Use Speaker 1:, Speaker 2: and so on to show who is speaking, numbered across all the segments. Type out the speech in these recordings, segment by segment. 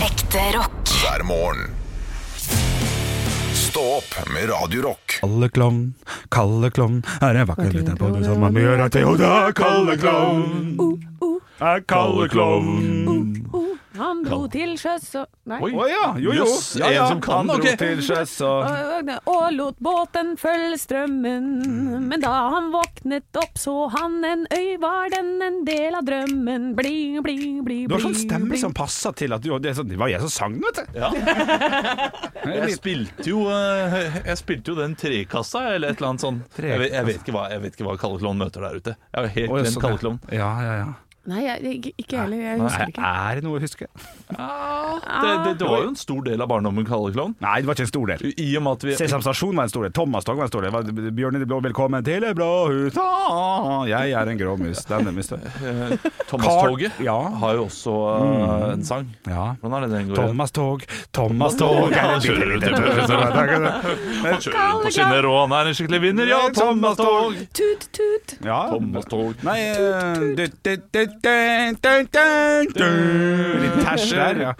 Speaker 1: Ekte rock.
Speaker 2: hver morgen. Stå opp med Radio Rock.
Speaker 3: Kalle klovn, kalle klovn, er en vakker liten pådre som man gjør at Jo da, kalle klovn,
Speaker 4: Uh,
Speaker 3: er kalle klovn.
Speaker 4: Han dro til sjøs og Nei.
Speaker 3: Å ja, jo jo.
Speaker 5: Jøss,
Speaker 3: Ja, ja. Ah,
Speaker 5: en som kan
Speaker 3: Han dro
Speaker 5: dro.
Speaker 3: til sjøs og
Speaker 4: Og, og lot båten følge strømmen.
Speaker 3: Mm.
Speaker 4: Men da han våknet opp, så han en øy, var den en del av drømmen. Bling, bling, bling,
Speaker 3: Du har sånn
Speaker 4: bling,
Speaker 3: stemme
Speaker 4: bling.
Speaker 3: som passer til at du det, er sånn, det var jeg som sang den, vet du.
Speaker 5: Jeg spilte jo, eh, jeg spilte jo den trekassa, eller et eller annet sånn. Jeg vet, jeg vet ikke hva, jeg vet ikke hva Kalleklovn møter der ute. Jeg har
Speaker 3: Å,
Speaker 5: helt
Speaker 3: ja,
Speaker 5: glemt
Speaker 3: sånn,
Speaker 5: Kalleklovn.
Speaker 3: Ja, ja, ja.
Speaker 4: Nei, jeg, ikke- ikke heller. Jeg
Speaker 3: Er,
Speaker 4: husker ikke.
Speaker 3: er det noe å huske?
Speaker 5: Det,
Speaker 4: Ah.
Speaker 5: det, det var jo en stor del av barndommen, Kalleklovn.
Speaker 3: Nei, det var ikke en stor del.
Speaker 5: I og med at vi
Speaker 3: Sesam Stasjon var en stor del. Thomas Tog var en stor del. Det var Bjørn i det blå, velkommen til det blå hus. Ah, Jeg er en grå mus. Det er nemmest.
Speaker 5: Thomas-toget
Speaker 3: Ja.
Speaker 5: har jo også eh, en sang.
Speaker 3: ja.
Speaker 5: Hvordan er det den går?
Speaker 3: Thomas Tog, Thomas Tog er en bitte liten pølse som er altså.
Speaker 5: Han kjører på skinner, og han er en skikkelig vinner, ja! Thomas-tog!
Speaker 4: Ah, Tut, tut.
Speaker 3: Ja.
Speaker 5: Thomas-tog.
Speaker 3: Nei eh, du, du, du, du, du, du, du. Litt tæsj der, ja.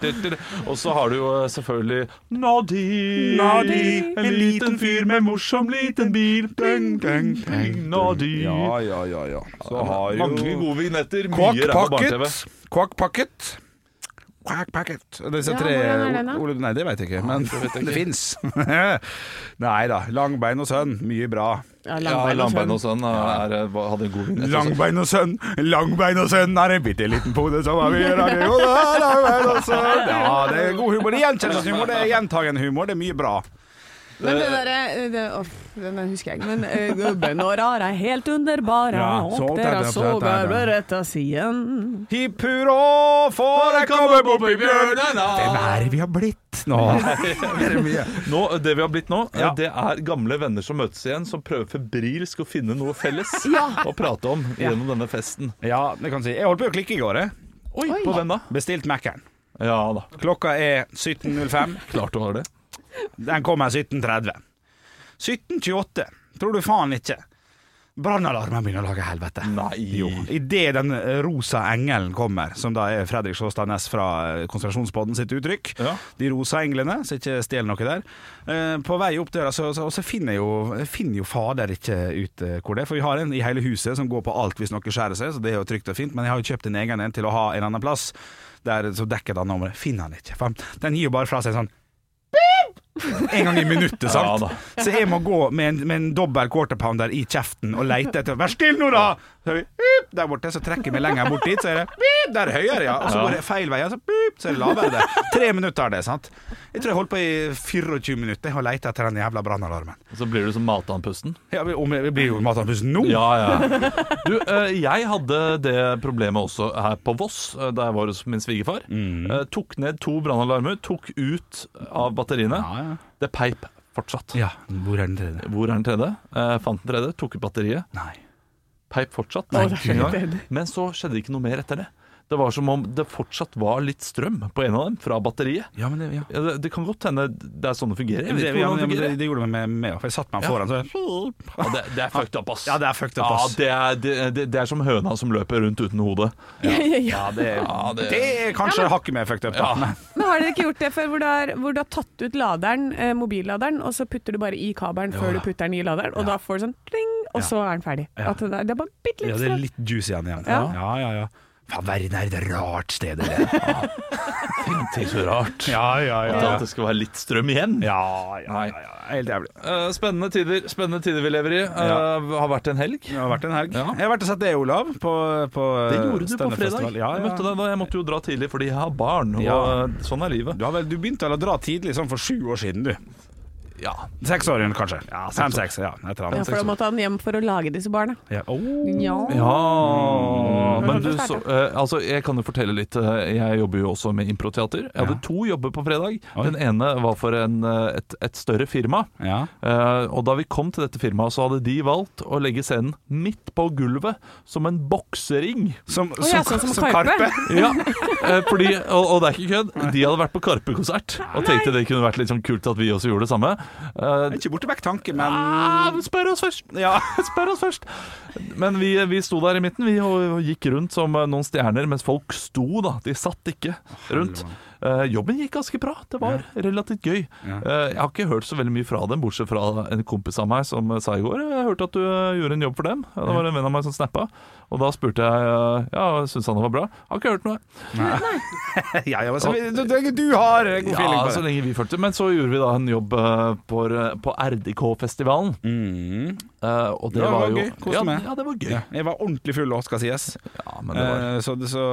Speaker 5: Og så har du jo eh, selvfølgelig Nadi.
Speaker 3: Nadi,
Speaker 5: En liten fyr med morsom liten bil. Ding, ding, ding. Nadi.
Speaker 3: Ja, ja, ja, ja. Så har
Speaker 5: Mange
Speaker 3: jo
Speaker 5: gode vignetter.
Speaker 3: Quack
Speaker 5: Mye ræva barne-TV.
Speaker 3: Pocket. Quack Pocket. Quack Pocket. Disse
Speaker 4: Ja,
Speaker 3: tre
Speaker 4: hvordan er den da?
Speaker 3: ordene Nei, det veit jeg ikke, men det fins. Nei da. Langbein og sønn, mye bra.
Speaker 4: Ja,
Speaker 5: Ja,
Speaker 4: Langbein og
Speaker 5: Langbein
Speaker 4: Sønn.
Speaker 5: og sønn er, er, hadde en god vignett. også.
Speaker 3: Langbein og sønn, langbein og sønn er en bitte liten pode som har mye rare Jo da, langbein og sønn. Ja, det er god humor. Det er gjenkjennelseshumor, det er gjentagende humor, det er mye bra.
Speaker 4: Men den derre det- Uff, den der husker jeg ikke. Men eh, gubben og rar er helt underbar.
Speaker 3: Ja,
Speaker 4: Og
Speaker 3: så
Speaker 4: dere
Speaker 3: der, der,
Speaker 4: sover
Speaker 3: der, der.
Speaker 4: ved rett av siden.
Speaker 3: Hipp hurra, for jeg kommer bort i bjørnen. Hvem er det vi har blitt nå? Det er mye.
Speaker 5: Nå, det vi har blitt nå,
Speaker 3: Ja.
Speaker 5: det er gamle venner som møtes igjen, som prøver febrilsk å finne noe felles å prate om gjennom denne festen.
Speaker 3: Ja, det kan jeg si. Jeg holdt på å klikke i går. jeg.
Speaker 5: Oi, på hvem da?
Speaker 3: Bestilt Mac-en.
Speaker 5: Ja da,
Speaker 3: Klokka er 17.05.
Speaker 5: klart du har det.
Speaker 3: Den kommer 17.30. 17.28. Tror du faen ikke. Brannalarmen begynner å lage helvete.
Speaker 5: Nei.
Speaker 3: Jo. Idet den rosa engelen kommer, som da er Fredrik Sjåstad Næss fra eh, Konsentrasjonspodden sitt uttrykk.
Speaker 5: Ja.
Speaker 3: De rosa englene, så ikke stjel noe der. Eh, På vei opp døra, så, så, og så finner jeg jo, jeg finner jo fader ikke ut eh, hvor det er. For vi har en i hele huset som går på alt hvis noe skjærer seg, så det er jo trygt og fint. Men jeg har jo kjøpt en egen en til å ha en annen plass. Der, så dekker det nummeret. Finner han ikke. For han- den gir jo bare fra seg sånn «Beep!» en gang i minuttet,
Speaker 5: Ja
Speaker 3: sant?
Speaker 5: da.
Speaker 3: så jeg må gå med en, med en dobbel quarter pounder i kjeften og leite etter Vær still nå, da! Så hører vi, «Beep!» der borte, så trekker jeg meg lenger bort dit, så er det «Beep!» Der høyere, ja. Og så
Speaker 5: Ja.
Speaker 3: går jeg feil vei, og så, «Beep!» så er det lavere der. Tre minutter er det, sant? Jeg tror jeg holdt på i 24 minutter og leita etter den jævla brannalarmen.
Speaker 5: Så blir du som matanpusten.
Speaker 3: Ja, men om jeg jeg blir jo matanpust nå.
Speaker 5: Ja, ja. Du, eh, jeg hadde det problemet også her på Voss, eh, da jeg var hos min svigerfar.
Speaker 3: Mm.
Speaker 5: Eh, Tok ned to brannalarmer, tok ut av batteriene.
Speaker 3: Ja, ja.
Speaker 5: Det peip fortsatt.
Speaker 3: Ja, hvor er den tredje?
Speaker 5: Hvor er den tredje? Eh, Fant den tredje, tok ut batteriet.
Speaker 3: Nei.
Speaker 5: peip fortsatt.
Speaker 4: Nei, det er
Speaker 5: En
Speaker 4: helt
Speaker 5: gang.
Speaker 4: enig.
Speaker 5: Men så skjedde det ikke noe mer etter det. Det var som om det fortsatt var litt strøm på en av dem fra batteriet.
Speaker 3: Ja, men det, ja.
Speaker 5: Ja, det, det kan godt hende det er sånn det fungerer.
Speaker 3: Det,
Speaker 5: Jeg vet
Speaker 3: ja,
Speaker 5: ikke hvordan
Speaker 3: men,
Speaker 5: det
Speaker 3: det,
Speaker 5: fungerer.
Speaker 3: det gjorde meg med, med, for jeg satte meg foran så jeg,
Speaker 5: Ja, det, det er fucked up, ass.
Speaker 3: Ja, det er fucked up,
Speaker 5: Ja,
Speaker 3: ass.
Speaker 5: det, er, det- det, det er som høna som løper rundt uten hode.
Speaker 4: ja.
Speaker 3: det,
Speaker 5: Ja, det-
Speaker 3: er kanskje hakket mer fucked up. da.
Speaker 5: Ja.
Speaker 3: Nei.
Speaker 4: Men har dere ikke gjort det før, hvor du har, hvor du har tatt ut laderen, eh, mobilladeren, og så putter du bare i kabelen før du putter den i laderen, og da får du sånn pling, og så er den ferdig.
Speaker 3: Ja.
Speaker 4: At det, er- det er bare bitte
Speaker 3: Ja,
Speaker 4: litt sånn.
Speaker 3: det er
Speaker 4: strøm.
Speaker 3: litt juicy igjen. igjen.
Speaker 4: Ja.
Speaker 3: ja, ja. ja. Faen, verden er et rart sted, det der.
Speaker 5: Det er så rart.
Speaker 3: Ja, ja,
Speaker 5: At det skal være litt strøm igjen.
Speaker 3: Ja, ja,
Speaker 5: Nei.
Speaker 3: ja, ja. Helt jævlig.
Speaker 5: Eh, spennende, tider, spennende tider vi lever i. Eh,
Speaker 3: Ja.
Speaker 5: Har vært en helg.
Speaker 3: Det har vært en helg.
Speaker 5: Ja.
Speaker 3: Jeg har vært og sett deg, Olav. På, på
Speaker 5: Det gjorde du på fredag.
Speaker 3: Stønnefestival. Ja,
Speaker 5: Jeg møtte
Speaker 3: ja.
Speaker 5: deg da. Jeg måtte jo dra tidlig fordi jeg har barn, og
Speaker 3: Ja.
Speaker 5: eh, sånn er livet.
Speaker 3: Du, har vel, du begynte vel å dra tidlig, sånn for sju år siden, du.
Speaker 5: Ja,
Speaker 3: Seks år igjen, kanskje. Ja, Fem-seks. Ja, et eller
Speaker 4: Ja,
Speaker 3: annet.
Speaker 4: for da måtte han hjem for å lage disse barna.
Speaker 3: Ja. Oh. Mm.
Speaker 5: Ja, men
Speaker 4: Hvordan
Speaker 5: du,
Speaker 4: det
Speaker 5: så,
Speaker 4: startet?
Speaker 5: eh, altså, jeg kan jo fortelle litt. eh, Jeg jobber jo også med improteater. Jeg hadde
Speaker 3: Ja.
Speaker 5: to jobber på fredag.
Speaker 3: Oi.
Speaker 5: Den ene var for en, eh, et, et større firma.
Speaker 3: Ja.
Speaker 5: Eh, og da vi kom til dette firmaet, så hadde de valgt å legge scenen midt på gulvet, som en boksering.
Speaker 3: Som,
Speaker 4: Å, ja, sånn som Karpe.
Speaker 5: Ja, eh, fordi, og, og det er ikke kødd, de hadde vært på Karpe-konsert og tenkte det kunne vært litt sånn kult at vi også gjorde det samme. Eh,
Speaker 3: Ikke borte vekk tanke, men
Speaker 5: ah, spør oss først!
Speaker 3: Ja.
Speaker 5: Spør oss først. Men vi, vi sto der i midten, vi og- og gikk rundt som eh, noen stjerner mens folk sto, da. De satt ikke rundt. Eh, jobben gikk ganske bra. Det var relativt gøy.
Speaker 3: Ja.
Speaker 5: Eh, jeg har ikke hørt så veldig mye fra dem, bortsett fra en kompis av meg som eh, sa i går Jeg hørte at du eh, gjorde en jobb for dem. Ja, det var en venn av meg som snappa. Og da spurte jeg eh, Ja, syns han det var bra. Jeg har ikke hørt noe.
Speaker 3: ja, ja, men så, du, du- du har god feeling
Speaker 5: Ja,
Speaker 3: på
Speaker 5: så
Speaker 3: det.
Speaker 5: lenge vi følte Men så gjorde vi da en jobb eh, på, på RDK-festivalen.
Speaker 3: Mm.
Speaker 5: Eh, og det,
Speaker 3: Ja, det
Speaker 5: var
Speaker 3: var
Speaker 5: jo
Speaker 3: gøy. Koste
Speaker 5: ja,
Speaker 3: meg.
Speaker 5: ja, det var gøy.
Speaker 3: Ja, jeg var ordentlig full òg, skal sies.
Speaker 5: Ja, men det var
Speaker 3: Eh, så, det- så,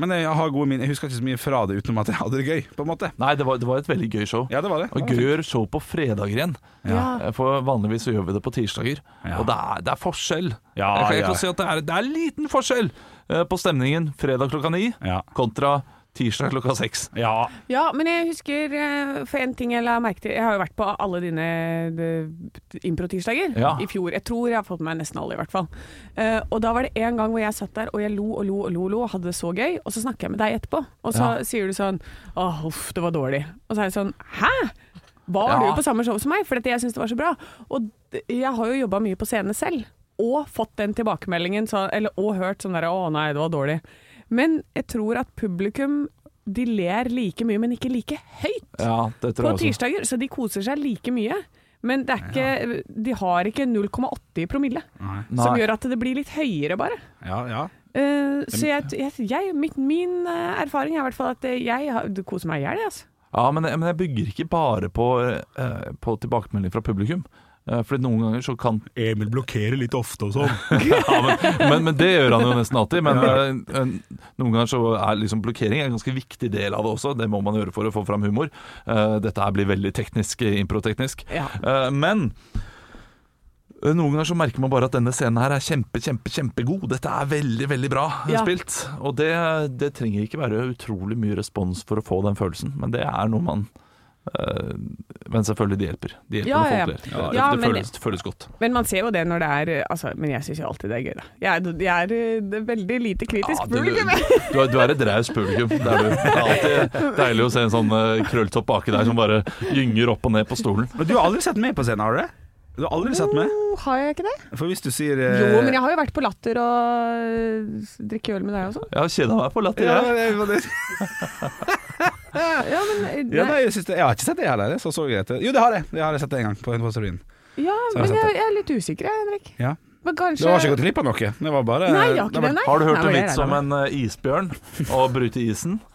Speaker 3: men jeg har gode minner. Jeg husker ikke så mye fra det utenom at jeg hadde det gøy, på en måte.
Speaker 5: Nei, det var, det var et veldig gøy show.
Speaker 3: Ja, det var det.
Speaker 5: Og gøy å gjøre show på fredager igjen.
Speaker 4: Ja.
Speaker 5: Eh, For vanligvis så gjør vi det på tirsdager.
Speaker 3: Ja.
Speaker 5: Og det er, det er forskjell.
Speaker 3: Ja,
Speaker 5: jeg kan ikke
Speaker 3: ja.
Speaker 5: si at det er, det er en liten forskjell eh, på stemningen fredag klokka ni
Speaker 3: Ja.
Speaker 5: kontra tirsdag klokka seks.
Speaker 3: ja.
Speaker 4: Ja, men jeg husker eh, For en ting jeg la merke til Jeg har jo vært på alle dine eh, improtirsdager
Speaker 5: Ja.
Speaker 4: i fjor. Jeg tror jeg har fått med meg nesten alle, i hvert fall. Eh, og da var det en gang hvor jeg satt der og jeg lo og lo og lo, og lo og hadde det så gøy. Og så snakker jeg med deg etterpå, og så sier du sånn Åh, uff, det var dårlig. Og så er jeg sånn Hæ? Var
Speaker 5: Ja.
Speaker 4: du på samme show som meg? Fordi at jeg syns det var så bra. Og d- jeg har jo jobba mye på scene selv, og fått den tilbakemeldingen, så, eller, og hørt sånn derre Å nei, det var dårlig. Men jeg tror at publikum de ler like mye, men ikke like høyt
Speaker 5: Ja, det
Speaker 4: på
Speaker 5: tror jeg også.
Speaker 4: tirsdager. Så de koser seg like mye. Men det er ikke, de har ikke 0,80 i promille,
Speaker 3: Nei.
Speaker 4: som
Speaker 5: Nei.
Speaker 4: gjør at det blir litt høyere, bare.
Speaker 3: ja, ja.
Speaker 4: Eh, så jeg, jeg, jeg, mitt, min eh, erfaring er i hvert fall at eh, jeg har- det koser meg i hjel, jeg, altså.
Speaker 5: Ja, men, jeg- men jeg bygger ikke bare på, eh, på tilbakemelding fra publikum. Eh, Fordi noen ganger så kan
Speaker 3: Emil blokkerer litt ofte og sånn.
Speaker 5: ja, men, men, men det gjør han jo nesten alltid. Men eh, en- noen ganger så er liksom blokkering en ganske viktig del av det også. Det må man gjøre for å få fram humor. Eh, Dette her blir veldig teknisk, eh, improteknisk.
Speaker 4: Ja.
Speaker 5: Eh, Men eh, noen ganger så merker man bare at denne scenen her er kjempe, kjempe, kjempegod. Dette er veldig, veldig bra eh,
Speaker 4: Ja.
Speaker 5: spilt. Og det, det trenger ikke være utrolig mye respons for å få den følelsen, men det er noe man eh, Men selvfølgelig, det hjelper. Det hjelper
Speaker 4: Ja, ja, ja.
Speaker 5: når folk ler. Det,
Speaker 4: Ja,
Speaker 5: det,
Speaker 4: men-
Speaker 5: føles, føles godt.
Speaker 4: Men man ser jo det når det er eh, altså, Men jeg syns jo alltid det er gøy, da. Jeg er, jeg er eh, det er veldig lite kritisk.
Speaker 5: Ja, du,
Speaker 4: publikum.
Speaker 5: du, er- du er et raust publikum. Det er du. Det er alltid deilig å se en sånn eh, krølltopp baki der som bare gynger opp og ned på stolen.
Speaker 3: Men du har aldri sett meg på scenen, har du det? Du har aldri sett meg?
Speaker 4: Oh, har jeg ikke det?
Speaker 3: For hvis du sier eh,
Speaker 4: Jo, men jeg har jo vært på Latter og eh, drikke øl med deg og sånn.
Speaker 5: Jeg har kjeda meg på latter.
Speaker 3: ja,
Speaker 5: jeg.
Speaker 3: det var det.
Speaker 4: Ja, men, eh,
Speaker 3: ja,
Speaker 4: nei.
Speaker 3: nei, jeg, synes det, jeg har ikke sett det heller. Så så jeg det. Jo, det har jeg. Det har jeg sett en gang. På en posterien. Så
Speaker 4: Ja,
Speaker 3: har jeg
Speaker 4: men
Speaker 3: sett
Speaker 4: jeg,
Speaker 3: det.
Speaker 4: jeg er litt usikker, jeg, Henrik.
Speaker 3: Ja.
Speaker 4: Men
Speaker 3: Du
Speaker 4: kanskje
Speaker 3: har ikke gått glipp av noe. Det var bare
Speaker 4: Nei, jeg har ikke det, nei.
Speaker 5: Har du hørt
Speaker 4: Nei,
Speaker 5: en
Speaker 4: men
Speaker 5: vits
Speaker 4: jeg
Speaker 5: om
Speaker 4: regner
Speaker 5: en eh, isbjørn og bryte isen?
Speaker 4: med-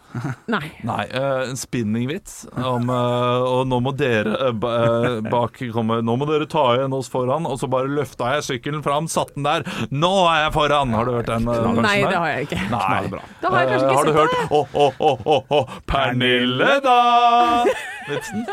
Speaker 4: Nei.
Speaker 5: Nei, eh, en spinningvits om eh, Og nå må dere eh, ba- eh, bak komme Nå må dere ta igjen oss foran, og så bare løfta jeg sykkelen fram, satt den der. Nå er jeg foran! Har du hørt den? eh,
Speaker 4: Nei,
Speaker 5: versen der?
Speaker 4: det har jeg ikke.
Speaker 5: Nei.
Speaker 4: Da har jeg kanskje
Speaker 5: Eh,
Speaker 4: ikke
Speaker 5: har du
Speaker 4: sett
Speaker 5: hørt Å, å, å, å, å, Pernille, da! Vitsen?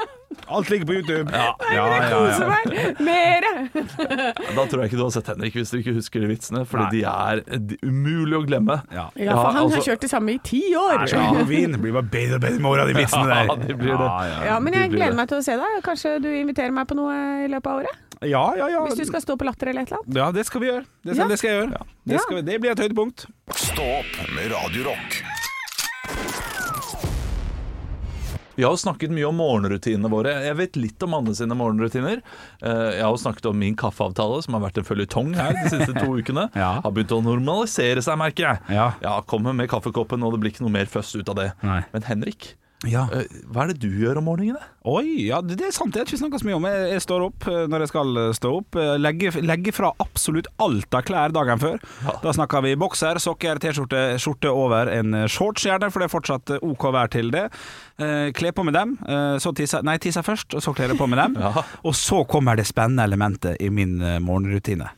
Speaker 3: Alt ligger på YouTube. Ja,
Speaker 4: Kose meg mere!
Speaker 5: Da tror jeg ikke du har sett Henrik, hvis du ikke husker de vitsene. Fordi
Speaker 3: Nei.
Speaker 5: de er de, umulig å glemme.
Speaker 3: Ja.
Speaker 4: Ja, for han har
Speaker 5: altså-
Speaker 4: kjørt det samme i ti år.
Speaker 3: Ja, vin blir bare bedre og bedre med åra, de vitsene der.
Speaker 5: Ja, det blir det.
Speaker 4: Ja, men jeg
Speaker 5: Det blir
Speaker 4: gleder
Speaker 5: det.
Speaker 4: meg til å se deg. Kanskje du inviterer meg på noe i løpet av året?
Speaker 3: Ja, ja, ja.
Speaker 4: Hvis du skal stå på Latter eller et eller annet.
Speaker 3: ja, det skal vi gjøre. Det skal,
Speaker 4: Ja.
Speaker 3: det skal jeg gjøre. Det, skal vi, det blir et høydepunkt.
Speaker 2: Stå opp med Radio Rock.
Speaker 5: Vi har jo snakket mye om morgenrutinene våre. Jeg vet litt om Anne sine morgenrutiner. Eh, Jeg har jo snakket om min kaffeavtale, som har vært en føljetong her de siste to ukene.
Speaker 3: Ja.
Speaker 5: Har begynt å normalisere seg, merker jeg.
Speaker 3: Ja.
Speaker 5: Kommer med kaffekoppen, og det blir ikke noe mer føss ut av det.
Speaker 3: Nei.
Speaker 5: Men Henrik,
Speaker 3: Ja.
Speaker 5: eh, hva er det du gjør om morgenene?
Speaker 3: Oi, ja, det det er sant. Det har ikke snakka så mye om. Jeg, jeg står opp eh, når jeg skal eh, stå opp. eh, Legger, legger fra absolutt alt av klær dagen før.
Speaker 5: Ja.
Speaker 3: Da snakker vi bokser, sokker, T-skjorte, skjorte over en eh, shorts, gjerne, for det er fortsatt eh, OK vær til det. Eh, Kle på med dem, eh, så tisser Nei, tisser først, og så kler jeg på med dem. Og så kommer det spennende elementet i min eh, morgenrutine.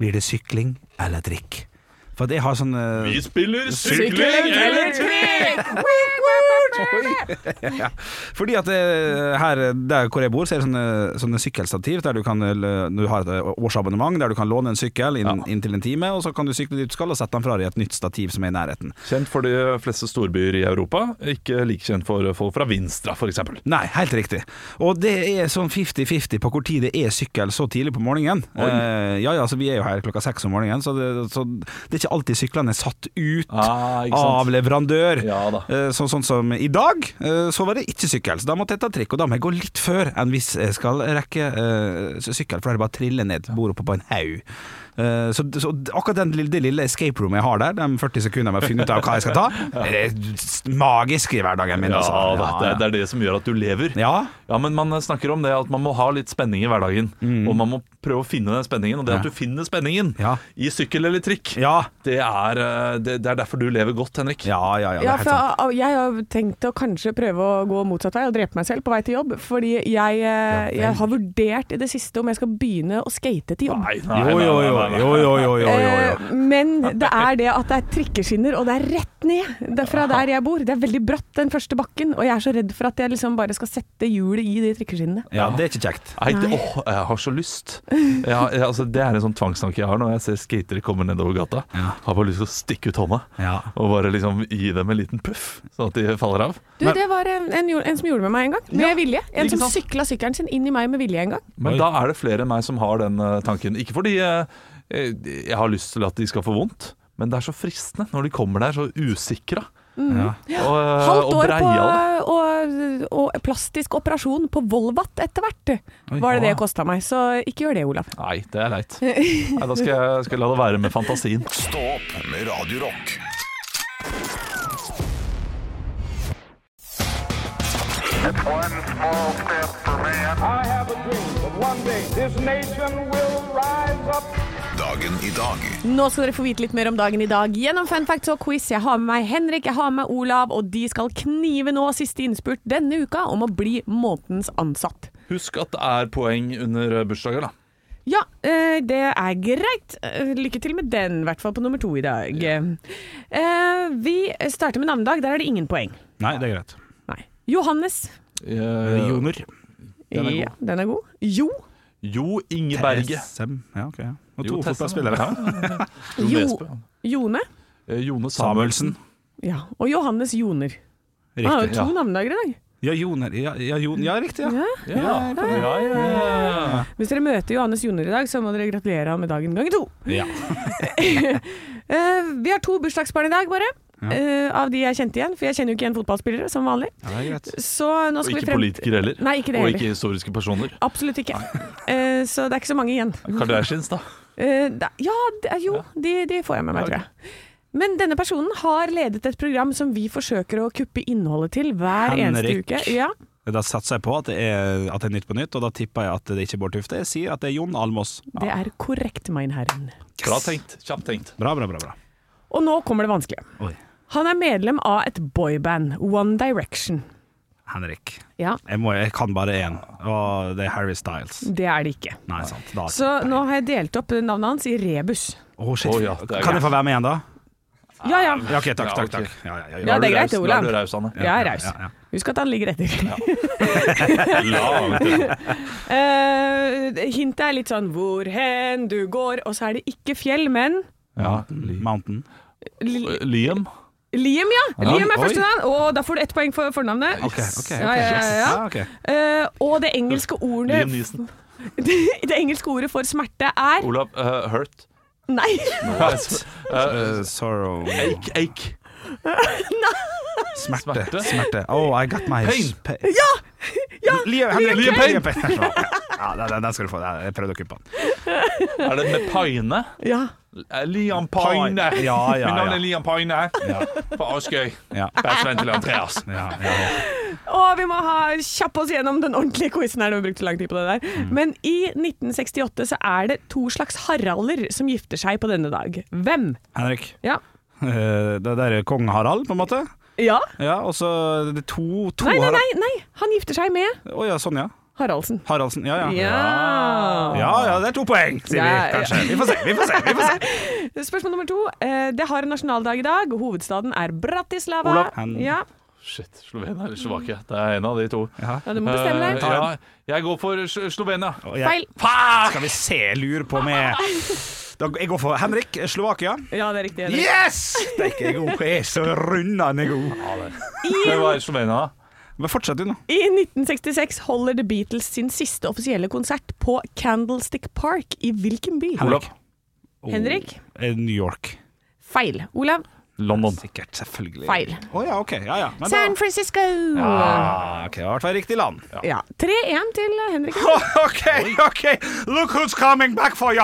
Speaker 3: Blir det sykling eller drikk? For at jeg har sånn eh,
Speaker 5: spiller
Speaker 3: Fordi at eh, her der hvor jeg bor, så er det sånne, sånne sykkelstativ der du kan eh, Du har et årsabonnement der du kan låne en sykkel inn, inntil en time, og så kan du sykle dit du skal og sette den fra deg i et nytt stativ som er i nærheten.
Speaker 5: Kjent for de fleste storbyer i Europa, ikke like kjent for folk fra Vinstra f.eks.
Speaker 3: Nei, helt riktig. Og det er sånn 50-50 på hvor tid det er sykkel så tidlig på morgenen. Eh, ja, ja, så Vi er jo her klokka seks om morgenen, så det, så det ikke alltid syklene er satt ut
Speaker 5: Ah, ikke sant.
Speaker 3: av leverandør.
Speaker 5: Ja da.
Speaker 3: Eh, Så, sånn som i dag, eh, så var det ikke sykkel. Så da måtte jeg ta trikk, og da må jeg gå litt før enn hvis jeg skal rekke eh, sykkel, for da er det bare å trille ned bordet oppe på en haug. Eh, Så, så akkurat den lille, det lille escape roomet jeg har der, de 40 sekundene med å finne ut av hva jeg skal ta, det er magisk i hverdagen min.
Speaker 5: Ja,
Speaker 3: altså.
Speaker 5: da, det, er- det er det som gjør at du lever.
Speaker 3: ja.
Speaker 5: Ja, men man snakker om det at man må ha litt spenning i hverdagen. Og man må prøve å finne den spenningen. Og det at
Speaker 3: Ja.
Speaker 5: du finner spenningen
Speaker 3: Ja.
Speaker 5: i sykkel eller trikk,
Speaker 3: Ja.
Speaker 5: det, er, eh, det, det er derfor du lever godt, Henrik.
Speaker 3: Ja, ja, ja, det er
Speaker 4: Ja,
Speaker 3: helt
Speaker 4: for
Speaker 3: sant.
Speaker 4: jeg, jeg har tenkt å kanskje prøve å gå motsatt vei og drepe meg selv på vei til jobb. Fordi jeg, eh,
Speaker 3: vel.
Speaker 4: jeg har vurdert i det siste om jeg skal begynne å skate til jobb.
Speaker 5: Nei, nei,
Speaker 3: Jo, jo,
Speaker 5: nei,
Speaker 3: jo,
Speaker 5: nei, nei.
Speaker 3: jo, jo, jo, jo, jo, jo.
Speaker 4: Eh, Men det er det at det er trikkeskinner, og det er rett ned Det er fra der jeg bor. Det er veldig bratt, den første bakken, og jeg er så redd for at jeg liksom bare skal sette hjulet i de trikkeskinnene.
Speaker 3: Ja, det er ikke kjekt.
Speaker 5: Nei, det,
Speaker 4: Nei.
Speaker 5: åh, jeg har så lyst. Jeg, jeg, altså, det er en sånn tvangstanke jeg har når jeg ser skatere komme nedover gata. Har bare lyst til å stikke ut hånda
Speaker 3: Ja.
Speaker 5: og bare liksom gi dem en liten puff, sånn at de faller av.
Speaker 4: Du, det var en, en, gjorde- en som gjorde det med meg en gang, med vilje. En
Speaker 5: ikke
Speaker 4: som
Speaker 5: sant?
Speaker 4: sykla sykkelen sin inn i meg med vilje en gang.
Speaker 5: Men
Speaker 3: Oi.
Speaker 5: da er det flere enn meg som har den eh, tanken. Ikke fordi eh, eh, jeg har lyst til at de skal få vondt, men det er så fristende når de kommer der så usikra.
Speaker 3: Ja.
Speaker 4: Mm.
Speaker 5: Og, eh,
Speaker 4: Halvt
Speaker 5: og
Speaker 4: år på
Speaker 5: breiale.
Speaker 4: og, og plastisk operasjon på Volvat etter hvert, var det det kosta meg. Så ikke gjør det, Olav.
Speaker 5: Nei, det er leit. Nei, da skal jeg, skal jeg la det være med fantasien.
Speaker 2: Stå opp med Radio Rock.
Speaker 1: One small step for man.
Speaker 6: I have a dream that one day this nation will rise up.
Speaker 2: Dagen i dag
Speaker 4: Nå skal dere få vite litt mer om dagen i dag gjennom fun facts og quiz. Jeg har med meg Henrik, jeg har med meg Olav, og de skal knive nå siste innspurt denne uka om å bli månedens ansatt.
Speaker 5: Husk at det er poeng under eh, bursdager, da.
Speaker 4: Ja, eh, det er greit. Eh, Lykke til med den, i hvert fall på nummer to i dag. Eh, Vi starter med navnedag. Der er det ingen poeng.
Speaker 3: Nei, det er greit.
Speaker 4: Nei. Johannes.
Speaker 5: Eh,
Speaker 3: Joner.
Speaker 5: Den er god.
Speaker 4: ja, den er god. Jo.
Speaker 5: Jo Ingeberget.
Speaker 3: Sem. Ja, ok. ja. Og
Speaker 5: Jo,
Speaker 3: to
Speaker 5: Tessa.
Speaker 3: fotballspillere.
Speaker 5: Jo
Speaker 4: Jo.
Speaker 5: Nesbø, ja.
Speaker 4: Jone.
Speaker 5: Eh, Jone Samuelsen.
Speaker 3: Samuelsen.
Speaker 4: Ja. Og Johannes Joner. Han har jo
Speaker 3: Riktig.
Speaker 4: Ah, to
Speaker 5: ja.
Speaker 4: navnedager i dag.
Speaker 3: Ja, Joner. Ja, ja, Jon. ja riktig, ja.
Speaker 4: Ja.
Speaker 5: Ja, eh, ja, ja.
Speaker 4: Hvis dere møter Johannes Joner i dag, så må dere gratulere ham med dagen ganger to.
Speaker 3: Ja.
Speaker 4: Eh, vi har to bursdagsbarn i dag, bare. eh, av de jeg kjente igjen, for jeg kjenner jo ikke igjen fotballspillere, som vanlig.
Speaker 3: Ja, det er greit.
Speaker 4: Så nå
Speaker 5: Og
Speaker 4: skal vi
Speaker 5: ikke
Speaker 4: frem...
Speaker 5: politikere heller.
Speaker 4: Nei, ikke det
Speaker 5: og
Speaker 4: heller.
Speaker 5: ikke historiske personer.
Speaker 4: Absolutt ikke. Eh, så det er ikke så mange igjen.
Speaker 5: Kardashians, da.
Speaker 4: Eh, da, ja, det, er- jo, de, de får jeg med meg, tror jeg. Men denne personen har ledet et program som vi forsøker å kuppe innholdet til hver eneste
Speaker 3: Henrik.
Speaker 4: uke. Ja,
Speaker 3: Da satser jeg på at det, er, at det er Nytt på Nytt, og da tipper jeg at det ikke er Bård Tufte. Jeg sier at det er Jon Almås.
Speaker 4: det er korrekt, mein herren.
Speaker 5: Bra tenkt. Kjapt tenkt.
Speaker 3: Bra, bra, bra. bra.
Speaker 4: Og nå kommer det vanskelige.
Speaker 3: Oi.
Speaker 4: Han er medlem av et boyband, One Direction.
Speaker 3: Henrik.
Speaker 4: Ja,
Speaker 3: Jeg, må, jeg kan bare én, og det er Harry Styles.
Speaker 4: det er det ikke.
Speaker 3: Nei, sant. Da.
Speaker 4: Så nå har jeg delt opp navnet hans i rebus.
Speaker 3: Å, shit.
Speaker 5: Å, ja, det er
Speaker 3: kan jeg få være med igjen, da?
Speaker 4: Ja, ja.
Speaker 3: Ja, OK, takk,
Speaker 5: Ja,
Speaker 3: takk.
Speaker 5: ok.
Speaker 3: takk. Ja, ja, ja,
Speaker 4: Ja,
Speaker 3: ja.
Speaker 4: det er greit,
Speaker 5: Da
Speaker 4: Olav.
Speaker 5: er du raus, Anne.
Speaker 4: Jeg er raus.
Speaker 3: ja, ja.
Speaker 4: Husk at han ligger etter.
Speaker 5: La-
Speaker 4: Eh, hintet er litt sånn hvor hen du går, og så er det ikke fjell, men
Speaker 5: Ja.
Speaker 3: Mountain.
Speaker 4: Li-
Speaker 5: Liam.
Speaker 4: Liam, ja! Liam er
Speaker 5: oi.
Speaker 4: første navn, og da får du ett poeng for fornavnet.
Speaker 3: OK. ok, ok.
Speaker 4: Ja, ja, ja, ja.
Speaker 3: Ah, ok.
Speaker 4: Eh, og det engelske ordet
Speaker 5: Liam Neeson.
Speaker 4: Det engelske ordet for smerte er
Speaker 5: Olav eh, Hurt.
Speaker 4: Nei!
Speaker 5: Eh,
Speaker 3: Eh, sorrow
Speaker 5: ache, ache.
Speaker 3: Smerte.
Speaker 5: Smerte.
Speaker 3: Smerte. Oh, I got my
Speaker 5: Pain.
Speaker 3: pa- Liam, Henrik,
Speaker 5: Liam
Speaker 3: Liam
Speaker 5: Payne.
Speaker 3: Payne. Ja, den- den, den skal du få. Jeg prøvde å kuppe den.
Speaker 5: Er det med Paine?
Speaker 4: Ja.
Speaker 5: Eh, Liam Paine.
Speaker 3: Ja, ja, ja.
Speaker 5: Mitt navn er Liam Paine fra Askøy.
Speaker 3: Ja.
Speaker 5: Best venn til Andreas.
Speaker 3: Ja, ja, ja.
Speaker 4: Og vi må ha kjappe oss gjennom den ordentlige quizen her. Vi har brukt så lang tid på det der.
Speaker 3: Mm.
Speaker 4: Men i 1968 så er det to slags haralder som gifter seg på denne dag. Hvem?
Speaker 3: Henrik.
Speaker 4: Ja.
Speaker 3: Eh, Det der er kong Harald, på en måte.
Speaker 4: Ja?
Speaker 3: Ja, og så er det to, to
Speaker 4: Nei, nei,
Speaker 3: Harald-
Speaker 4: nei, nei. Han gifter seg med
Speaker 3: Å ja, sånn ja.
Speaker 4: Haraldsen.
Speaker 3: Haraldsen. Ja ja.
Speaker 4: Ja.
Speaker 3: Ja ja, det er to poeng, sier
Speaker 4: Ja,
Speaker 3: vi kanskje. Vi får se, vi får se. Vi får se.
Speaker 4: Spørsmål nummer to. Eh, Det har en nasjonaldag i dag. Hovedstaden er Bratislava.
Speaker 3: Olav, han-
Speaker 4: Ja.
Speaker 5: Shit. Slovenia eller Slovakia? Det er en av de to.
Speaker 4: ja, du må bestemme
Speaker 5: Eh,
Speaker 4: deg.
Speaker 5: ja, jeg går for Slo- Slovenia.
Speaker 3: Og jeg-
Speaker 4: Feil.
Speaker 5: Fuck!
Speaker 3: Skal vi se, jeg lurer på med da, Jeg går for Henrik, Slovakia.
Speaker 4: Ja, det er riktig. Henrik.
Speaker 3: Yes! Det er ikke jeg god. Jeg er så rundende god.
Speaker 5: Det var Slovenia.
Speaker 3: Men fortsett du nå.
Speaker 4: I 1966 holder The Beatles sin siste offisielle konsert på Candlestick Park i hvilken by?
Speaker 5: Olav.
Speaker 4: Henrik?
Speaker 3: Eh, New York.
Speaker 4: Feil. Olav,
Speaker 5: London.
Speaker 3: Sikkert, selvfølgelig.
Speaker 4: feil.
Speaker 3: Å ja, ok. Ja, ja. Men da,
Speaker 4: San Francisco!
Speaker 3: Ah, ok, det var i hvert fall riktig land.
Speaker 4: Ja. 3-1 til eh, Henrik.
Speaker 3: OK, OK! Look who's coming back for you!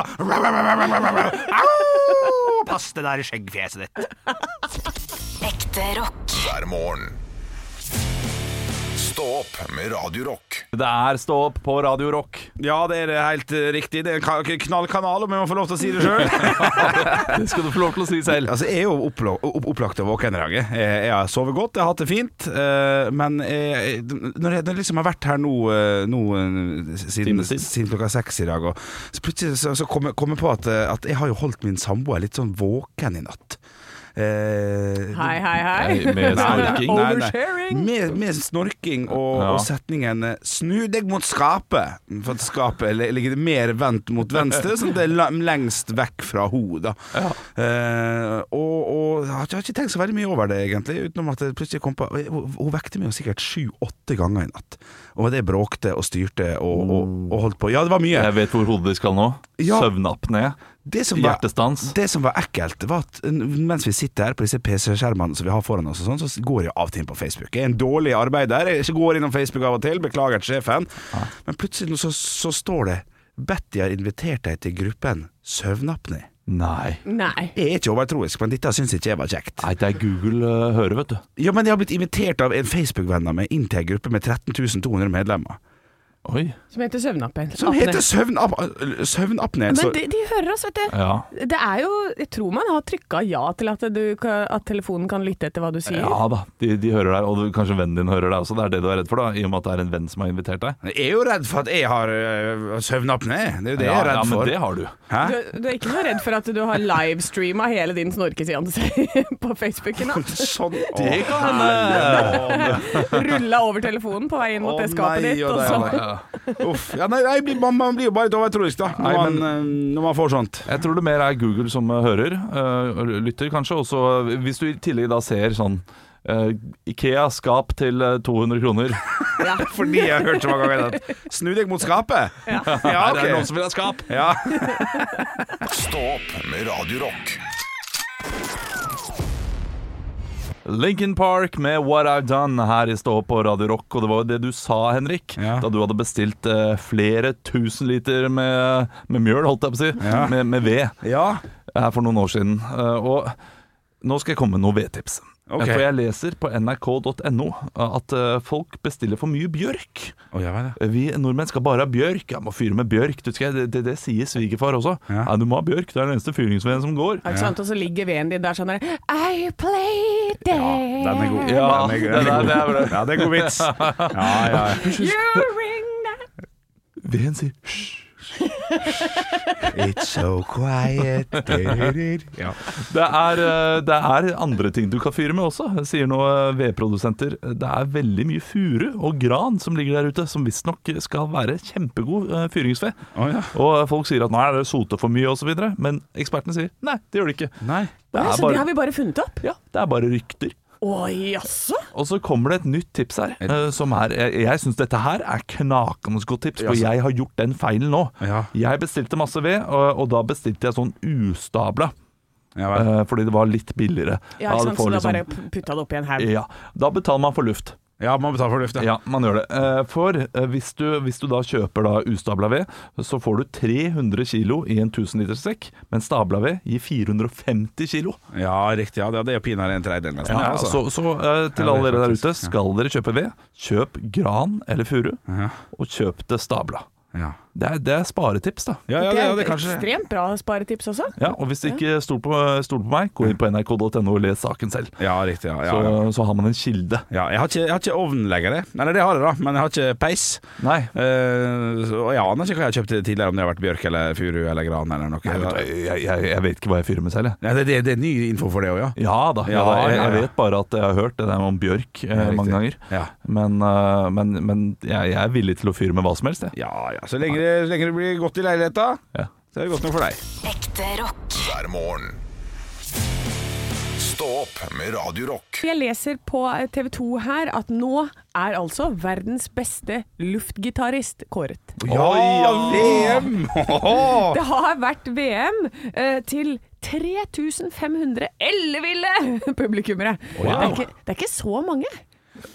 Speaker 3: Au! Pass det der i skjeggfjeset ditt.
Speaker 7: Ekte rock.
Speaker 2: hver morgen. Stå opp med Radio Rock.
Speaker 5: Det er Stå opp på Radio Rock.
Speaker 3: Ja, det er helt eh, riktig. Det er en ka- knallkanal, om jeg må få lov til å si det sjøl.
Speaker 5: Det skal du få lov til å si selv.
Speaker 3: altså, jeg er jo opplo- opp- opplagt og våken i dag. Jeg, jeg har sovet godt, jeg har hatt det fint. eh, men jeg, når jeg når jeg liksom har vært her nå, eh, nå eh, siden,
Speaker 5: Time siden.
Speaker 3: siden klokka seks i dag, og så plutselig så, så kom, jeg, kom jeg på at, eh, at jeg har jo holdt min samboer litt sånn våken i natt. Eh,
Speaker 4: Hei, hei, hei.
Speaker 5: Med snorking.
Speaker 3: Nei, nei.
Speaker 4: Oversharing.
Speaker 3: Med, med snorking og,
Speaker 5: Ja.
Speaker 3: og setningen eh, 'snu deg mot skapet', for at skapet li- ligger mer vendt mot venstre, sånn at det er la- lengst vekk fra hodet. Eh, og, og jeg har ikke- jeg har ikke tenkt så veldig mye over det, egentlig, utenom at jeg plutselig kom på Hun hun vekte meg jo sikkert sju-åtte ganger i natt, og det bråkte og styrte og, og,
Speaker 5: Mm.
Speaker 3: og holdt på. Ja, det var mye.
Speaker 5: Jeg vet hvor hodet ditt skal nå.
Speaker 3: Ja.
Speaker 5: Søvnapné.
Speaker 3: Det som var,
Speaker 5: Hjertestans.
Speaker 3: det som var ekkelt, var at n- mens vi sitter her på disse PC-skjermene som vi har foran oss, og sånn, så går jeg av og til inn på Facebook. Jeg er en dårlig arbeider. Jeg går innom Facebook av og til, beklager til sjefen. Men plutselig nå så, så står det 'Betty har invitert deg til gruppen Søvnapné'.
Speaker 5: Nei.
Speaker 4: Nei.
Speaker 3: Jeg er ikke overtroisk, men dette syns ikke jeg var kjekt.
Speaker 5: Nei, det er Google eh, hører, vet du.
Speaker 3: Ja, men jeg har blitt invitert av en Facebook-venn av meg inn til ei gruppe med 13 200 medlemmer,
Speaker 5: Oi.
Speaker 4: Som heter søvnappen.
Speaker 3: som heter Søvnap- Søvnapné.
Speaker 4: Men
Speaker 3: Så-
Speaker 4: de, de hører oss, vet du.
Speaker 5: Ja.
Speaker 4: Det er jo Jeg tror man har trykka ja til at, du, kan- at telefonen kan lytte etter hva du sier.
Speaker 5: Ja da, de, de hører deg, og du, kanskje vennen din hører deg også. Det er det du er redd for, da, i og med at det er en venn som har invitert deg.
Speaker 3: Jeg er jo redd for at jeg har øh, søvnapné. Det er jo det
Speaker 5: ja,
Speaker 3: jeg er redd
Speaker 5: ja,
Speaker 3: for.
Speaker 5: men det har du.
Speaker 3: Hæ?
Speaker 4: Du, du er ikke så redd for at du har livestreama hele din snorkeseanse på Facebook i natt?
Speaker 3: Sånn.
Speaker 5: Det kan hende.
Speaker 4: Rulla over telefonen på vei inn mot
Speaker 3: Å,
Speaker 4: det skapet
Speaker 3: nei,
Speaker 4: ditt,
Speaker 3: å,
Speaker 4: og
Speaker 3: nei,
Speaker 4: så
Speaker 3: å, nei. Uff. Ja, nei, nei, man, man blir jo bare litt overtroisk, da, når,
Speaker 5: Nei, men-
Speaker 3: man, øh, når man får sånt.
Speaker 5: Jeg tror det mer er Google som eh, hører, eh, og lytter kanskje. Og så eh, hvis du i tillegg da ser sånn eh, Ikea-skap til eh, 200 kroner.
Speaker 4: ja.
Speaker 3: Fordi jeg har hørt så mange ganger at Snu deg mot skapet. Ja,
Speaker 5: Her er det noen
Speaker 3: ok.
Speaker 5: som vil ha skap!
Speaker 3: Ja.
Speaker 2: Stå opp med Radio Rock.
Speaker 5: Lincoln Park med What I've Done her i Stå på Radio Rock. Og det var jo det du sa, Henrik,
Speaker 3: Ja.
Speaker 5: da du hadde bestilt eh, flere tusen liter med, med mjøl, holdt jeg på å si,
Speaker 3: Ja.
Speaker 5: med, med ved,
Speaker 3: ja.
Speaker 5: her for noen år siden. Eh, og nå skal jeg komme med noen vedtips. Eh,
Speaker 3: Ok.
Speaker 5: For jeg leser på nrk.no at eh, folk bestiller for mye bjørk. Eh,
Speaker 3: Å, ja, vel, ja.
Speaker 5: Vi nordmenn skal bare ha bjørk. Jeg må fyre med bjørk. Du skal, det, det, det sier svigerfar også.
Speaker 3: Ja.
Speaker 5: Nei, du må ha bjørk. Det er den eneste fyringsveden som går.
Speaker 4: Er det sant? Og så ligger veden din der sånn der I played there.
Speaker 3: Den er god.
Speaker 5: Ja,
Speaker 3: den er,
Speaker 5: det
Speaker 3: den
Speaker 5: der-
Speaker 3: er
Speaker 5: det er
Speaker 3: god.
Speaker 5: bra.
Speaker 3: Ja, det er god vits. Ja, ja.
Speaker 4: You ring that
Speaker 5: Veden sier hysj.
Speaker 3: It's so quiet. Ja.
Speaker 5: Det er, eh, det er andre ting du kan fyre med også, sier nå eh, vedprodusenter. Det er veldig mye furu og gran som ligger der ute, som visstnok skal være kjempegod eh, fyringsved.
Speaker 3: Å, ja.
Speaker 5: Og eh, folk sier at nei, det soter for mye osv., men ekspertene sier nei, det gjør det ikke.
Speaker 3: Nei.
Speaker 5: Det
Speaker 4: Ja,
Speaker 5: er
Speaker 4: Så det
Speaker 5: bare,
Speaker 4: har vi bare funnet opp?
Speaker 5: ja, det er bare rykter.
Speaker 4: Å jaså?
Speaker 5: Og så kommer det et nytt tips her, eh, som er Jeg, jeg syns dette her er knakende godt tips, for
Speaker 3: Jaså.
Speaker 5: jeg har gjort den feilen nå.
Speaker 3: Ja.
Speaker 5: Jeg bestilte masse ved, og, og da bestilte jeg sånn ustabla.
Speaker 3: Ja, vel.
Speaker 5: eh, Fordi det var litt billigere.
Speaker 4: Ja, ikke
Speaker 5: du
Speaker 4: sant?
Speaker 5: får
Speaker 4: Så da
Speaker 5: liksom-
Speaker 4: bare p- putta det oppi en haug.
Speaker 5: Ja, da betaler man for luft.
Speaker 3: ja, man betaler for lufta.
Speaker 5: Ja, man gjør det. Eh, For eh, hvis du, hvis du da kjøper da ustabla ved, så får du 300 kilo i en 1000 liters sekk, men stabla ved gir 450 kilo.
Speaker 3: Ja, riktig. Ja, det det er jo pinadø en tredjedel, nesten.
Speaker 5: Ja,
Speaker 3: altså.
Speaker 5: Så, så eh, til
Speaker 3: Ja, det er
Speaker 5: alle dere der
Speaker 3: faktisk-
Speaker 5: ute, skal dere kjøpe ved, kjøp gran eller furu,
Speaker 3: Ja.
Speaker 5: og kjøp det stabla.
Speaker 3: Ja.
Speaker 5: Det er, det er sparetips, da.
Speaker 3: Ja, ja, det, ja,
Speaker 4: et
Speaker 3: det er kanskje
Speaker 4: ekstremt bra sparetips også.
Speaker 5: Ja, og hvis du ikke stoler på, stol på meg, gå inn på nrk.no og les saken selv.
Speaker 3: Ja, riktig. Ja, ja,
Speaker 5: Så,
Speaker 3: ja.
Speaker 5: så har man en kilde.
Speaker 3: ja jeg, har ikke, jeg har ikke ovn lenger. jeg. Eller det har jeg, da, men jeg har ikke peis.
Speaker 5: Nei,
Speaker 3: Eh, så- og jeg aner ikke hva jeg har kjøpt tidligere, om det har vært bjørk eller furu eller gran eller noe.
Speaker 5: jeg, jeg, jeg, jeg vet ikke hva jeg fyrer med selv, jeg.
Speaker 3: Nei, det, det, det er ny info for det òg, ja.
Speaker 5: Ja da, ja,
Speaker 3: Ja,
Speaker 5: da.
Speaker 3: ja,
Speaker 5: Jeg,
Speaker 3: ja.
Speaker 5: jeg vet bare at jeg har hørt det der om bjørk eh,
Speaker 3: riktig.
Speaker 5: mange ganger.
Speaker 3: Ja.
Speaker 5: Men, eh, men, men jeg, jeg er villig til å fyre med hva som helst, jeg.
Speaker 3: Ja, ja. Så lenge, det- så lenge det blir godt i leiligheta,
Speaker 5: Ja.
Speaker 3: så er det godt nok for deg.
Speaker 7: Ekte rock.
Speaker 2: hver morgen. Stå opp med Radio Rock.
Speaker 4: Jeg leser på eh, TV 2 her at nå er altså verdens beste luftgitarist kåret.
Speaker 3: Ja, VM! Åhå!
Speaker 4: Det har vært VM eh, til 3500 elleville publikummere! Det, er ikke, det er ikke så mange.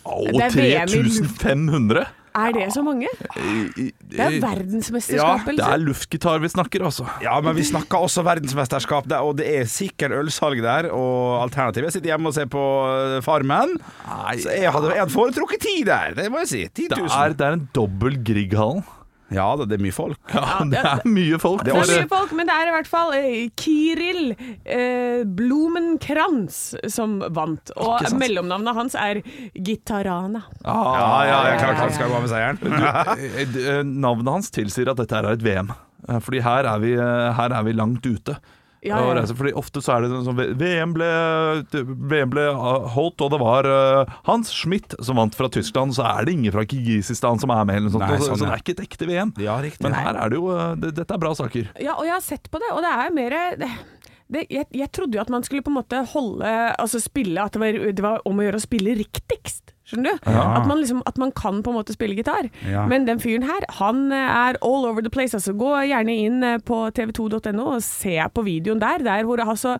Speaker 5: Og
Speaker 4: Det er VM i luft.
Speaker 5: 3500!
Speaker 4: Er det så mange? Det er verdensmesterskapet.
Speaker 5: Det er
Speaker 4: liksom.
Speaker 5: luftgitar vi snakker, altså.
Speaker 3: Ja, men vi snakker også verdensmesterskap, der, og det er sikkert ølsalg der. Og alternativet Jeg sitter hjemme og ser på eh, Farmen. Så jeg hadde, jeg hadde foretrukket ti der, det må jeg si. 10
Speaker 5: Det
Speaker 3: 000.
Speaker 5: er, det er en dobbel Grieghallen.
Speaker 3: Ja da, det er mye folk.
Speaker 5: Ja, det er mye folk.
Speaker 4: Det er mye
Speaker 5: bare-
Speaker 4: folk, men det er i hvert fall eh, Kiril eh, Blumenkrans som vant. Og mellomnavnet hans er Gitarana.
Speaker 5: Ah,
Speaker 3: ja, ja, klart han skal gå av med seieren.
Speaker 5: Eh, eh, Navnet hans tilsier at dette her er et VM. Eh, Fordi her er vi, eh, her er vi langt ute.
Speaker 4: Ja,
Speaker 5: Og
Speaker 4: ja.
Speaker 5: reise- Fordi ofte så er det sånn som VM ble, VM ble eh, holdt, og det var eh, Hans Schmidt som vant fra Tyskland. Så er det ingen fra Kirgisistan som er med, eller noe sånt.
Speaker 3: Nei,
Speaker 5: så,
Speaker 3: sånn,
Speaker 5: så
Speaker 3: ja.
Speaker 5: det er ikke et ekte VM.
Speaker 3: Ja, riktig.
Speaker 5: Men her er det jo eh, det, Dette er bra saker.
Speaker 4: Ja, og jeg har sett på det, og det er mer det, det, jeg, jeg trodde jo at man skulle på en måte holde Altså spille At det var, det var om å gjøre å spille riktigst. Skjønner du?
Speaker 3: Ja.
Speaker 4: At, man liksom, at man kan på en måte spille gitar.
Speaker 3: Ja.
Speaker 4: Men den fyren her, han eh, er all over the place. Altså, gå gjerne inn eh, på tv2.no og se på videoen der. Der hvor altså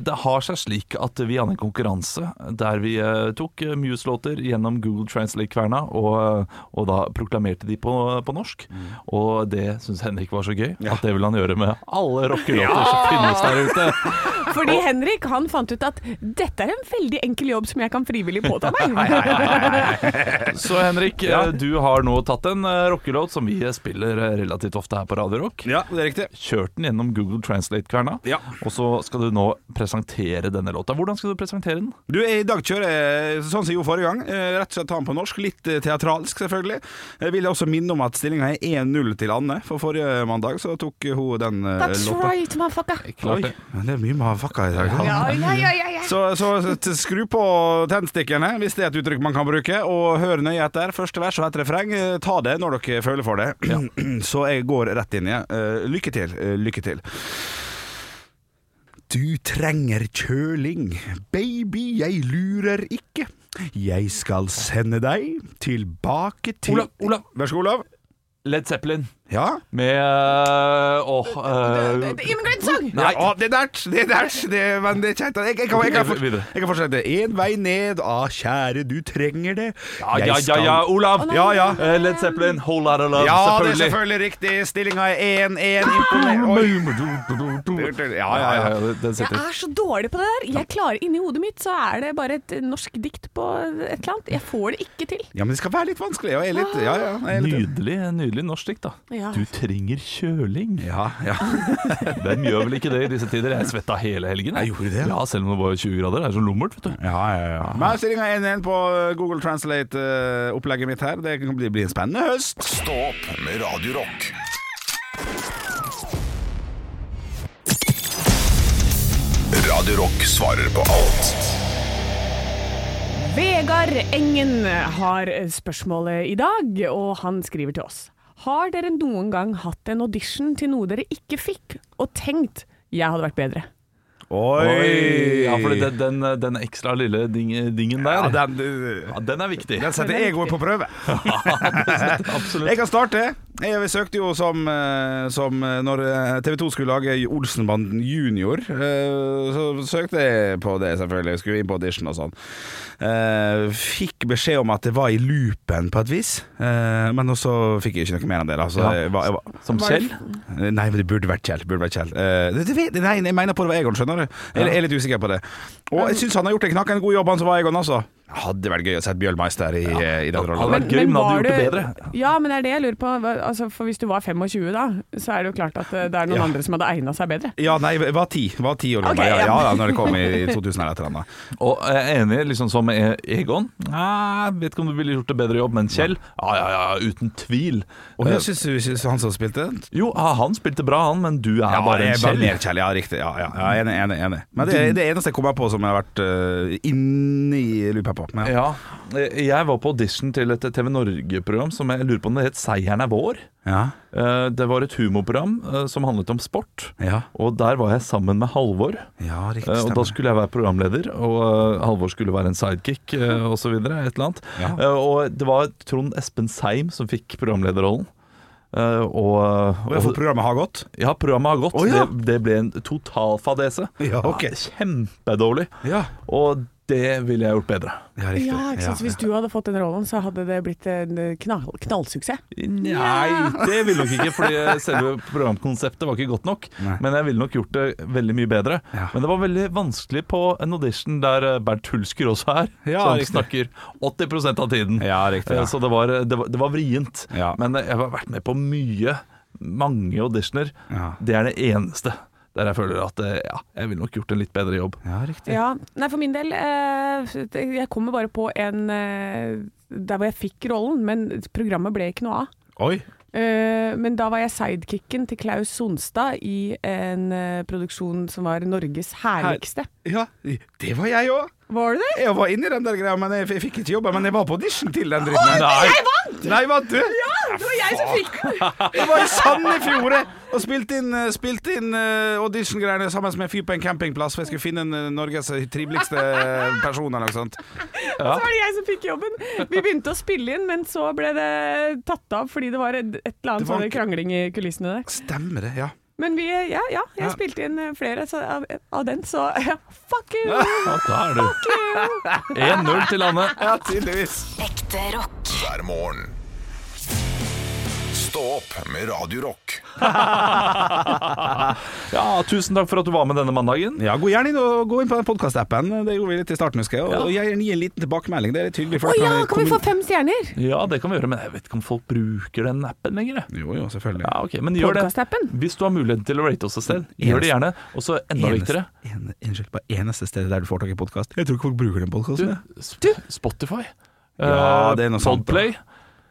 Speaker 5: Det har seg slik at vi hadde en konkurranse der vi eh, tok eh, Muse-låter gjennom Google Translate-kverna, og, og da proklamerte de på, på norsk. Og det syns Henrik var så gøy, at det vil han gjøre med alle rockelåter som finnes der ute.
Speaker 4: Fordi Henrik han fant ut at dette er en veldig enkel jobb som jeg kan frivillig påta meg.
Speaker 5: Så Henrik, eh, du har nå tatt en eh, rockelåt som vi eh, spiller eh, relativt ofte her på Radio Rock.
Speaker 3: Ja, det er riktig.
Speaker 5: Kjørt den gjennom Google Translate-kverna,
Speaker 3: Ja.
Speaker 5: og så skal du nå presentere denne låta. Hvordan skal du presentere den?
Speaker 3: Du, I dag kjører jeg sånn som jeg gjorde forrige gang. eh, Rett og slett ta den på norsk. Litt eh, teatralsk, selvfølgelig. Jeg vil også minne om at stillinga er 1-0 til Anne. For forrige mandag så tok hun den eh,
Speaker 4: That's
Speaker 3: låta.
Speaker 4: right, motherfucker.
Speaker 3: Oi, det er mye mavefakka i dag.
Speaker 4: Ja, ja, ja, ja, ja.
Speaker 3: Så, så t- skru på tennstikkene, hvis det er et uttrykk man kan bruke, og hør nøye etter. Første vers og et refreng. Eh, Ta det når dere føler for det. Så jeg går rett inn i det. Eh, Lykke til. eh, Lykke til. Du trenger kjøling, baby, jeg lurer ikke. Jeg skal sende deg tilbake til
Speaker 5: Olav, Olav.
Speaker 3: Vær så god, Olav.
Speaker 5: Led Zeppelin.
Speaker 3: Ja.
Speaker 5: Med øh, Åh øh,
Speaker 4: The Immigrant Song!
Speaker 5: Nei.
Speaker 3: Ja, å, det er nært, det er nært, det, men det er kjent. Jeg, jeg, kan, jeg, kan,
Speaker 5: Videre.
Speaker 3: jeg kan fortsette. En vei ned, ah, kjære, du trenger det.
Speaker 5: Ja,
Speaker 3: Jeg
Speaker 5: ja, ja,
Speaker 3: skal-
Speaker 5: ja, Olav!
Speaker 3: Å, nei. Ja, ja.
Speaker 5: Eh, Led Zeppelin, Whole Lotta Love,
Speaker 3: Ja, det er
Speaker 5: selvfølgelig.
Speaker 3: selvfølgelig riktig. Stillinga er 1-1. Imponer- Oi. Ja, ja,
Speaker 5: Ja,
Speaker 3: ja.
Speaker 5: ja, det- den
Speaker 4: Jeg
Speaker 5: sitter.
Speaker 4: er så dårlig på det der. Jeg klarer Inni hodet mitt så er det bare et norsk dikt på et eller annet. Jeg får det ikke til.
Speaker 3: Ja, men det skal være litt vanskelig. og Jeg er litt, ja, ja, jeg er litt
Speaker 5: Nydelig, nydelig norsk dikt, da.
Speaker 4: Ja.
Speaker 5: Du trenger kjøling.
Speaker 3: ja, ja.
Speaker 5: Hvem gjør vel ikke det i disse tider? Jeg svetta hele helgen.
Speaker 3: Jeg gjorde det.
Speaker 5: Ja, Selv om det var 20 grader. Det er så lummert, vet du.
Speaker 3: Ja, ja, ja. Men stillinga er 1-1 på Google Translate-opplegget mitt her. Det kan bli, bli en spennende høst.
Speaker 2: Stå opp med Radio Rock. Radio Rock svarer på alt
Speaker 4: Vegard Engen har spørsmålet i dag, og han skriver til oss. Har dere noen gang hatt en audition til noe dere ikke fikk, og tenkt 'jeg hadde vært bedre'?
Speaker 5: Oi! Ja, for den, den, den ekstra lille ding, dingen der,
Speaker 3: Ja,
Speaker 5: ja,
Speaker 3: den,
Speaker 5: den er viktig.
Speaker 3: den setter egoet på prøve.
Speaker 5: Ja, det setter- absolutt.
Speaker 3: Jeg kan starte. Jeg søkte jo som, eh, som eh, når TV 2 skulle lage Olsenbanden junior, eh, så søkte jeg på det, selvfølgelig. Jeg skulle inn på audition og sånn. Eh, Fikk beskjed om at det var i loopen på et vis, eh, men også fikk jeg ikke noe mer enn det. da, så
Speaker 5: Ja.
Speaker 3: jeg var, jeg var
Speaker 5: Som
Speaker 4: Var det-
Speaker 5: Kjell?
Speaker 3: Nei, men det burde vært Kjell. det Burde vært Kjell. Eh, det, det, vet- nei, jeg mener på det var Egon, skjønner du. Jeg, jeg er litt usikker på det. Og jeg syns han har gjort en knakkende god jobb, han som var Egon, altså. Hadde vært gøy å sette Bjølmeister i, eh, i den
Speaker 5: hadde
Speaker 3: rollen.
Speaker 5: vært- gøy, men hadde
Speaker 4: var
Speaker 5: du gjort det
Speaker 4: du- Ja, men det er det jeg lurer på. Hva- Altså, for hvis du var 25 da, så er det jo klart at eh, det er noen
Speaker 3: Ja.
Speaker 4: andre som hadde egna seg bedre.
Speaker 3: Ja, nei, jeg var ti. Var ti år gammel.
Speaker 4: Ok,
Speaker 3: ja,
Speaker 4: ja.
Speaker 3: ja. da, når det kom i 2000 eller et eller annet.
Speaker 5: Og jeg er enig, liksom som E- Egon. Ah, vet ikke om du ville gjort det bedre jobb, men Kjell? Ja, ja, ja, uten tvil.
Speaker 3: Og
Speaker 5: Eh,
Speaker 3: jeg syns syns han som spilte
Speaker 5: Jo, ah, han spilte bra, han, men du er
Speaker 3: ja,
Speaker 5: bare
Speaker 3: jeg
Speaker 5: en
Speaker 3: er bare
Speaker 5: Kjell.
Speaker 3: mer Kjell. Ja, riktig. Ja, ja, ja, enig, enig, enig. Men det, det eneste jeg kommer på som jeg har vært eh, inni lupa på. Men, ja.
Speaker 5: Ja, eh, jeg var på audition til et TV Norge-program som jeg lurer på om det het Seieren er vår.
Speaker 3: Ja,
Speaker 5: Eh, Det var et humorprogram eh, som handlet om sport,
Speaker 3: ja,
Speaker 5: og der var jeg sammen med Halvor.
Speaker 3: ja, riktig.
Speaker 5: Eh, Og da
Speaker 3: Stemmer.
Speaker 5: skulle jeg være programleder, og eh, Halvor skulle være en sidekick eh, og så videre, et eller annet.
Speaker 3: Ja.
Speaker 5: Eh, Og det var Trond Espen Seim som fikk programlederrollen. Eh, Og,
Speaker 3: Og jeg får
Speaker 5: og
Speaker 3: programmet har gått.
Speaker 5: ja, programmet har gått.
Speaker 3: Å, ja.
Speaker 5: det, det ble en totalfadese.
Speaker 3: Ja, ok.
Speaker 5: Kjempedårlig.
Speaker 3: Ja,
Speaker 5: Og det ville jeg gjort bedre.
Speaker 3: ja riktig.
Speaker 4: Ja, ikke sant? Så Hvis du hadde fått den rollen, så hadde det blitt en eh, knall, knallsuksess.
Speaker 5: Nei, det ville nok ikke, fordi selve programkonseptet var ikke godt nok.
Speaker 3: Nei.
Speaker 5: Men jeg ville nok gjort det veldig mye bedre.
Speaker 3: Ja.
Speaker 5: Men det var veldig vanskelig på en audition der eh, Bernt Hulsker også er,
Speaker 3: Ja,
Speaker 5: som
Speaker 3: riktig.
Speaker 5: snakker 80 av tiden.
Speaker 3: Ja, riktig, ja.
Speaker 5: Eh, Så det var, det var, det var vrient.
Speaker 3: Ja.
Speaker 5: Men eh, jeg har vært med på mye, mange auditioner.
Speaker 3: Ja.
Speaker 5: Det er det eneste der jeg føler at eh, ja, jeg ville nok gjort en litt bedre jobb.
Speaker 3: Ja, riktig.
Speaker 4: Ja, nei for min del eh, det- Jeg kommer bare på en eh, Der hvor jeg fikk rollen, men programmet ble ikke noe av.
Speaker 3: Oi.
Speaker 4: Eh, men da var jeg sidekicken til Klaus Sonstad i en eh, produksjon som var Norges herligste.
Speaker 3: Ja, det var jeg òg.
Speaker 4: Var det det?
Speaker 3: Jeg var inni den der greia, men jeg, f- jeg fikk ikke jobba. Men jeg var på audition til den dritten. her.
Speaker 5: jeg
Speaker 3: Nei, vant du? Ja,
Speaker 4: Det var jeg som fikk den!
Speaker 3: Jeg var i Sandefjord jeg, og spilte inn, eh, spilte inn eh, audition-greiene sammen med en fyr på en campingplass, for jeg skulle finne en eh, Norges triveligste eh, person eller noe sånt.
Speaker 4: Så var det jeg som fikk jobben. Vi begynte å spille inn, men så ble det tatt av fordi det var et et
Speaker 3: Det
Speaker 4: eller annet
Speaker 3: var
Speaker 4: sånn
Speaker 3: ikke-
Speaker 4: krangling i kulissene der.
Speaker 3: Stemmer det, ja.
Speaker 4: Men vi, eh, ja, ja, jeg
Speaker 3: Ja.
Speaker 4: spilte inn eh, flere så, av, av den, så fuck you!
Speaker 5: Ja, da er du. 1-0 til Anne.
Speaker 3: Ja, tydeligvis.
Speaker 7: Ekte rock.
Speaker 2: hver morgen. Stå opp med Radio Rock.
Speaker 5: Ja, tusen takk for at du var med denne mandagen.
Speaker 3: Ja, Gå gjerne inn og gå inn på den podkastappen. Det gjorde vi litt i starten, husker jeg. Og, og jeg gi en liten tilbakemelding. Det er litt hyggelig.
Speaker 4: Å
Speaker 3: for da
Speaker 4: ja,
Speaker 3: jeg
Speaker 4: kan vi få
Speaker 3: kommun-
Speaker 4: fem stjerner?
Speaker 5: Ja, det kan vi gjøre, men jeg vet ikke om folk bruker den appen lenger. jeg.
Speaker 3: Jo, jo, selvfølgelig.
Speaker 5: Ja, ok, men gjør det.
Speaker 4: Podcast-appen?
Speaker 5: Hvis du har muligheten til å rate oss et sted, gjør det gjerne. Og så enda viktigere
Speaker 3: Eneste- en, unnskyld, på eneste stedet der du får tak i podkast. Jeg tror ikke folk bruker den
Speaker 5: du,
Speaker 3: podkasten.
Speaker 5: Sp- Spotify.
Speaker 3: Ja,
Speaker 5: eh,
Speaker 3: det er noe sant, da.
Speaker 5: Podplay.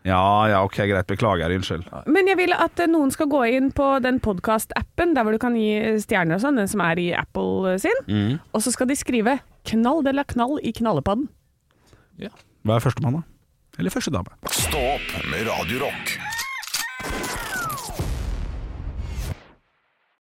Speaker 3: Ja ja, ok, greit. Beklager. Unnskyld.
Speaker 4: Men jeg vil at eh, noen skal gå inn på den podkast-appen, der hvor du kan gi eh, stjerner og sånn, den som er i Apple eh, sin, og så skal de skrive 'knall de la knall' i knallepadden.
Speaker 3: Hva er førstemann, da? Eller første dame?
Speaker 2: Stå opp med Radio Rock.